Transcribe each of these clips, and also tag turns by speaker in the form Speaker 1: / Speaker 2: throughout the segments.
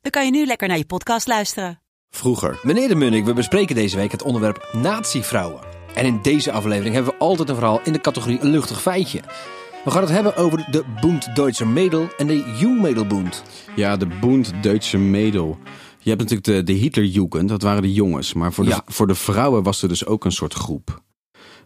Speaker 1: dan kan je nu lekker naar je podcast luisteren.
Speaker 2: Vroeger. Meneer de Munnik, we bespreken deze week het onderwerp natievrouwen. En in deze aflevering hebben we altijd een verhaal in de categorie een luchtig feitje. We gaan het hebben over de Bund Deutscher Mädel en de Jungmädelbund.
Speaker 3: Ja, de Bund Deutsche Mädel. Je hebt natuurlijk de, de Hitlerjugend, dat waren de jongens. Maar voor de,
Speaker 2: Ja.
Speaker 3: voor de vrouwen was er dus ook een soort groep.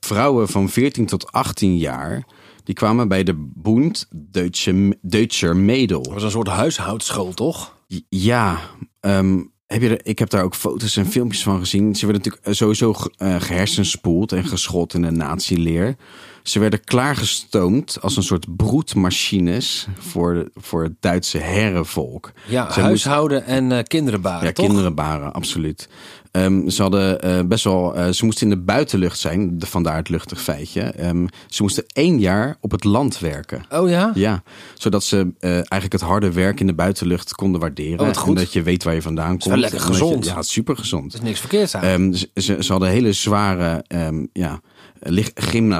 Speaker 3: Vrouwen van 14 tot 18 jaar, die kwamen bij de Bund Deutsche, Deutscher Mädel.
Speaker 2: Dat was een soort huishoudschool, toch?
Speaker 3: J- Ja, ehm, heb je er- ik heb daar ook foto's en filmpjes van gezien. Ze werden natuurlijk eh, sowieso ge- eh, gehersenspoeld en geschot in de nazi-leer. Ze werden klaargestoomd als een soort broedmachines voor, de- voor het Duitse herrenvolk.
Speaker 2: Ja,
Speaker 3: Ze moesten-
Speaker 2: huishouden en eh kinderen baren,
Speaker 3: ja,
Speaker 2: toch?
Speaker 3: kinderen baren, absoluut. Ehm, ze, hadden, eh, best wel, eh, ze moesten in de buitenlucht zijn, de, vandaar het luchtig feitje. Ehm, ze moesten één jaar op het land werken.
Speaker 2: Oh ja?
Speaker 3: Ja, zodat ze eh, eigenlijk het harde werk in de buitenlucht konden waarderen.
Speaker 2: Oh, wat goed.
Speaker 3: En dat je weet waar je vandaan komt.
Speaker 2: wel lekker
Speaker 3: En dat je-
Speaker 2: gezond.
Speaker 3: ja, super gezond.
Speaker 2: Dat is niks verkeerds aan.
Speaker 3: ze, ze, ze hadden hele zware ehm ja, lig-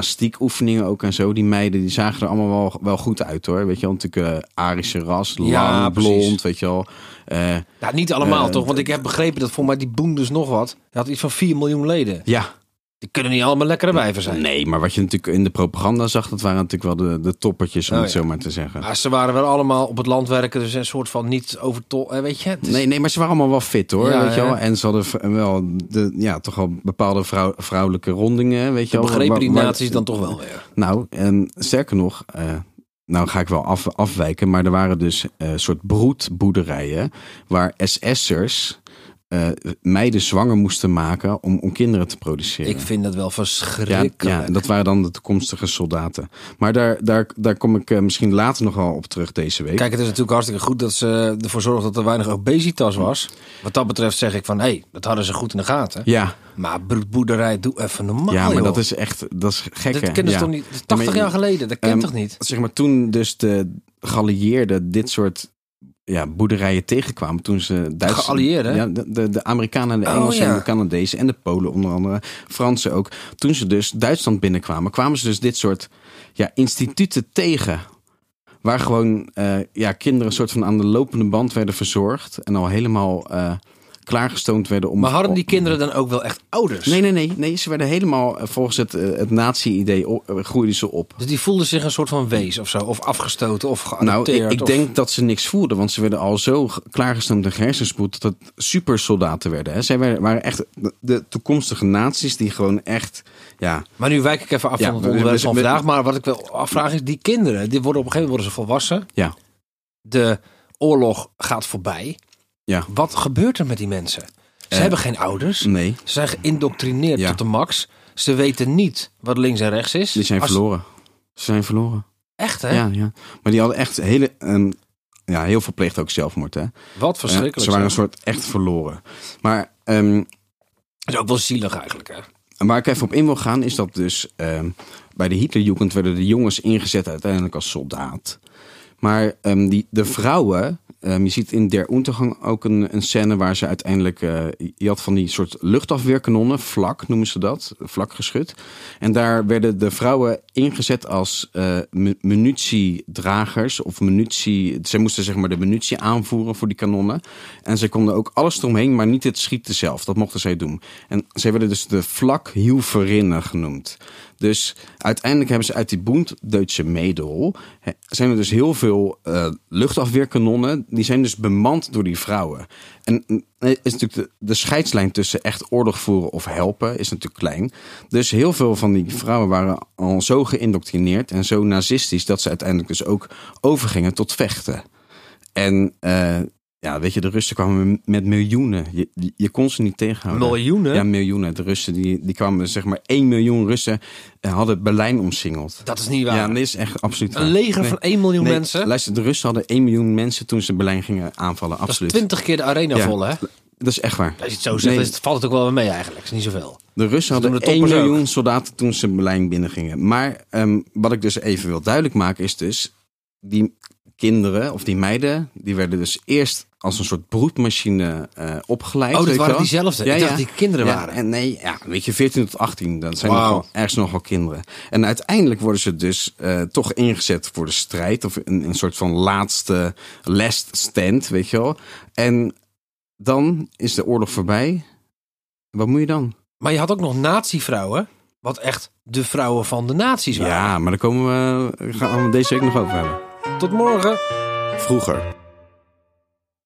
Speaker 3: gymnastiekoefeningen ook en zo. Die meiden die zagen er allemaal wel, wel goed uit hoor. Weet je wel, natuurlijk eh, Arische ras, lang,
Speaker 2: Ja, precies.
Speaker 3: blond, weet je wel. Eh,
Speaker 2: nou, niet allemaal
Speaker 3: eh,
Speaker 2: toch? Want ik heb begrepen dat voor mij die boem dus nog wat. Die had iets van 4 miljoen leden.
Speaker 3: ja,
Speaker 2: Die kunnen niet allemaal lekkere wijven zijn.
Speaker 3: Nee, maar wat je natuurlijk in de propaganda zag, dat waren natuurlijk wel de, de toppertjes, om
Speaker 2: Oh,
Speaker 3: het
Speaker 2: ja.
Speaker 3: zo maar te zeggen.
Speaker 2: Maar ze waren wel allemaal op het land werken. Dus een soort van niet overtol... eh, Weet je? Het is-
Speaker 3: Nee, nee, maar ze waren allemaal wel fit hoor,
Speaker 2: Ja,
Speaker 3: weet je
Speaker 2: ja.
Speaker 3: wel. En ze hadden v- wel, de, ja, toch wel bepaalde vrouw, vrouwelijke rondingen, weet je wel.
Speaker 2: Begrepen
Speaker 3: Waar-
Speaker 2: die
Speaker 3: waar-
Speaker 2: naties dan toch wel weer?
Speaker 3: Nou, en sterker nog, eh, nou ga ik wel af, afwijken, maar er waren dus een soort broedboerderijen waar SS'ers eh, meiden zwanger moesten maken om, om kinderen te produceren.
Speaker 2: Ik vind dat wel
Speaker 3: Ja,
Speaker 2: verschrikkelijk.
Speaker 3: ja, dat waren dan de toekomstige soldaten. Maar daar, daar, daar kom ik eh, misschien later nog wel op terug deze week.
Speaker 2: Kijk, het is natuurlijk hartstikke goed dat ze ervoor zorgden dat er weinig obesitas was. Wat dat betreft zeg ik van, hé, dat hadden ze goed in de gaten.
Speaker 3: ja,
Speaker 2: Maar broedboerderij, doe even normaal,
Speaker 3: ja, maar
Speaker 2: joh.
Speaker 3: dat is echt dat is gek.
Speaker 2: Dat
Speaker 3: hè?
Speaker 2: kennen ze
Speaker 3: Ja.
Speaker 2: toch niet? Dat is
Speaker 3: Ja, maar
Speaker 2: 80 jaar geleden, dat kent
Speaker 3: ehm,
Speaker 2: toch niet?
Speaker 3: Zeg maar, toen dus de geallieerden dit soort ja, boerderijen tegenkwamen. Toen ze Duits,
Speaker 2: Geallieerden?
Speaker 3: Ja, de, de, de Amerikanen en de
Speaker 2: Oh,
Speaker 3: Engelsen en
Speaker 2: ja.
Speaker 3: de Canadezen en de Polen onder andere. Fransen ook. Toen ze dus Duitsland binnenkwamen, kwamen ze dus dit soort ja, instituten tegen. Waar gewoon eh, ja, kinderen soort van aan de lopende band werden verzorgd. En al helemaal eh, klaargestoomd werden om...
Speaker 2: Maar hadden die
Speaker 3: om-
Speaker 2: kinderen dan ook wel echt ouders?
Speaker 3: oh, Nee, nee, nee, nee. Ze werden helemaal eh, volgens het, eh, het nazi-idee op- eh, groeiden ze op.
Speaker 2: Dus die voelden zich een soort van wees of zo, of afgestoten of
Speaker 3: Nou,
Speaker 2: geadopteerd.
Speaker 3: ik, ik
Speaker 2: of-
Speaker 3: denk dat ze niks voelden, want ze werden al zo g- klaargestoomd en gehersenspoed dat het supersoldaten werden. Hè. Zij werden- waren echt de, de toekomstige naties die gewoon echt, ja,
Speaker 2: Maar nu wijk ik even af
Speaker 3: Ja,
Speaker 2: van het
Speaker 3: we- we-
Speaker 2: onderwerp van
Speaker 3: we-
Speaker 2: vandaag. Maar wat ik wel afvraag is, die kinderen, die worden op een gegeven moment worden ze volwassen.
Speaker 3: ja,
Speaker 2: De oorlog gaat voorbij.
Speaker 3: ja,
Speaker 2: Wat gebeurt er met die mensen? Ze
Speaker 3: Eh,
Speaker 2: hebben geen ouders.
Speaker 3: nee,
Speaker 2: Ze zijn geïndoctrineerd
Speaker 3: Ja.
Speaker 2: tot de max. Ze weten niet wat links en rechts is.
Speaker 3: die zijn
Speaker 2: Als-
Speaker 3: verloren. Ze zijn verloren.
Speaker 2: Echt, hè?
Speaker 3: Ja, ja. Maar die hadden echt hele, ehm, ja, heel veel pleegden ook zelfmoord, hè.
Speaker 2: Wat verschrikkelijk.
Speaker 3: ze waren een
Speaker 2: zeg.
Speaker 3: soort echt verloren. Maar ehm,
Speaker 2: Dat is ook wel zielig eigenlijk, hè?
Speaker 3: En Waar ik even op in wil gaan is dat dus ehm, bij de Hitlerjugend werden de jongens ingezet uiteindelijk als soldaat. Maar ehm, die, de vrouwen, ehm, je ziet in Der Untergang ook een, een scène waar ze uiteindelijk, eh, je had van die soort luchtafweerkanonnen, vlak noemen ze dat, vlakgeschut. En daar werden de vrouwen ingezet als eh, mu- munitiedragers of munitie, zij moesten zeg maar de munitie aanvoeren voor die kanonnen. En zij konden ook alles eromheen, maar niet het schieten zelf, dat mochten zij doen. En zij werden dus de vlak Hilverinnen genoemd. Dus uiteindelijk hebben ze uit die Bund Deutsche Mädel... hè, zijn er dus heel veel eh, luchtafweerkanonnen... die zijn dus bemand door die vrouwen. En mm, is natuurlijk de, de scheidslijn tussen echt oorlog voeren of helpen... is natuurlijk klein. Dus heel veel van die vrouwen waren al zo geïndoctrineerd... en zo nazistisch dat ze uiteindelijk dus ook overgingen tot vechten. En eh, Ja, weet je, de Russen kwamen met miljoenen. Je, je- je kon ze niet tegenhouden.
Speaker 2: Miljoenen?
Speaker 3: Ja, miljoenen. De Russen, die, die kwamen, zeg maar, 1 miljoen Russen eh, hadden Berlijn omsingeld.
Speaker 2: Dat is niet waar.
Speaker 3: Ja, dat is echt absoluut
Speaker 2: Een
Speaker 3: waar.
Speaker 2: leger
Speaker 3: Nee.
Speaker 2: van 1 miljoen
Speaker 3: Nee,
Speaker 2: mensen.
Speaker 3: Luister, de Russen hadden 1 miljoen mensen toen ze Berlijn gingen aanvallen.
Speaker 2: dat is
Speaker 3: Absoluut.
Speaker 2: 20 keer de arena
Speaker 3: Ja.
Speaker 2: vol, hè?
Speaker 3: Dat is echt waar.
Speaker 2: Als je het zo zegt,
Speaker 3: Nee.
Speaker 2: is het, valt het ook wel weer mee eigenlijk. Is niet zoveel.
Speaker 3: De Russen
Speaker 2: Ze doen
Speaker 3: hadden
Speaker 2: de
Speaker 3: 1
Speaker 2: toppers
Speaker 3: miljoen
Speaker 2: ook.
Speaker 3: soldaten toen ze Berlijn binnengingen. Maar ehm, wat ik dus even wil duidelijk maken is dus... die kinderen of die meiden... die werden dus eerst als een soort broedmachine eh, opgeleid.
Speaker 2: Oh, dat
Speaker 3: weet je
Speaker 2: waren
Speaker 3: wel.
Speaker 2: diezelfde. Ik dacht dat die kinderen
Speaker 3: Ja,
Speaker 2: waren.
Speaker 3: En nee, ja, weet je, 14 tot 18. Dat zijn
Speaker 2: Wauw.
Speaker 3: nogal, ergens nogal kinderen. En uiteindelijk worden ze dus eh, toch ingezet voor de strijd. Of een, een soort van laatste last stand, weet je wel. En dan is de oorlog voorbij. Wat moet je dan?
Speaker 2: Maar je had ook nog nazi-vrouwen. Wat echt de vrouwen van de nazi's waren.
Speaker 3: Ja, maar daar komen we, gaan we deze week nog over hebben.
Speaker 2: Tot morgen.
Speaker 3: Vroeger.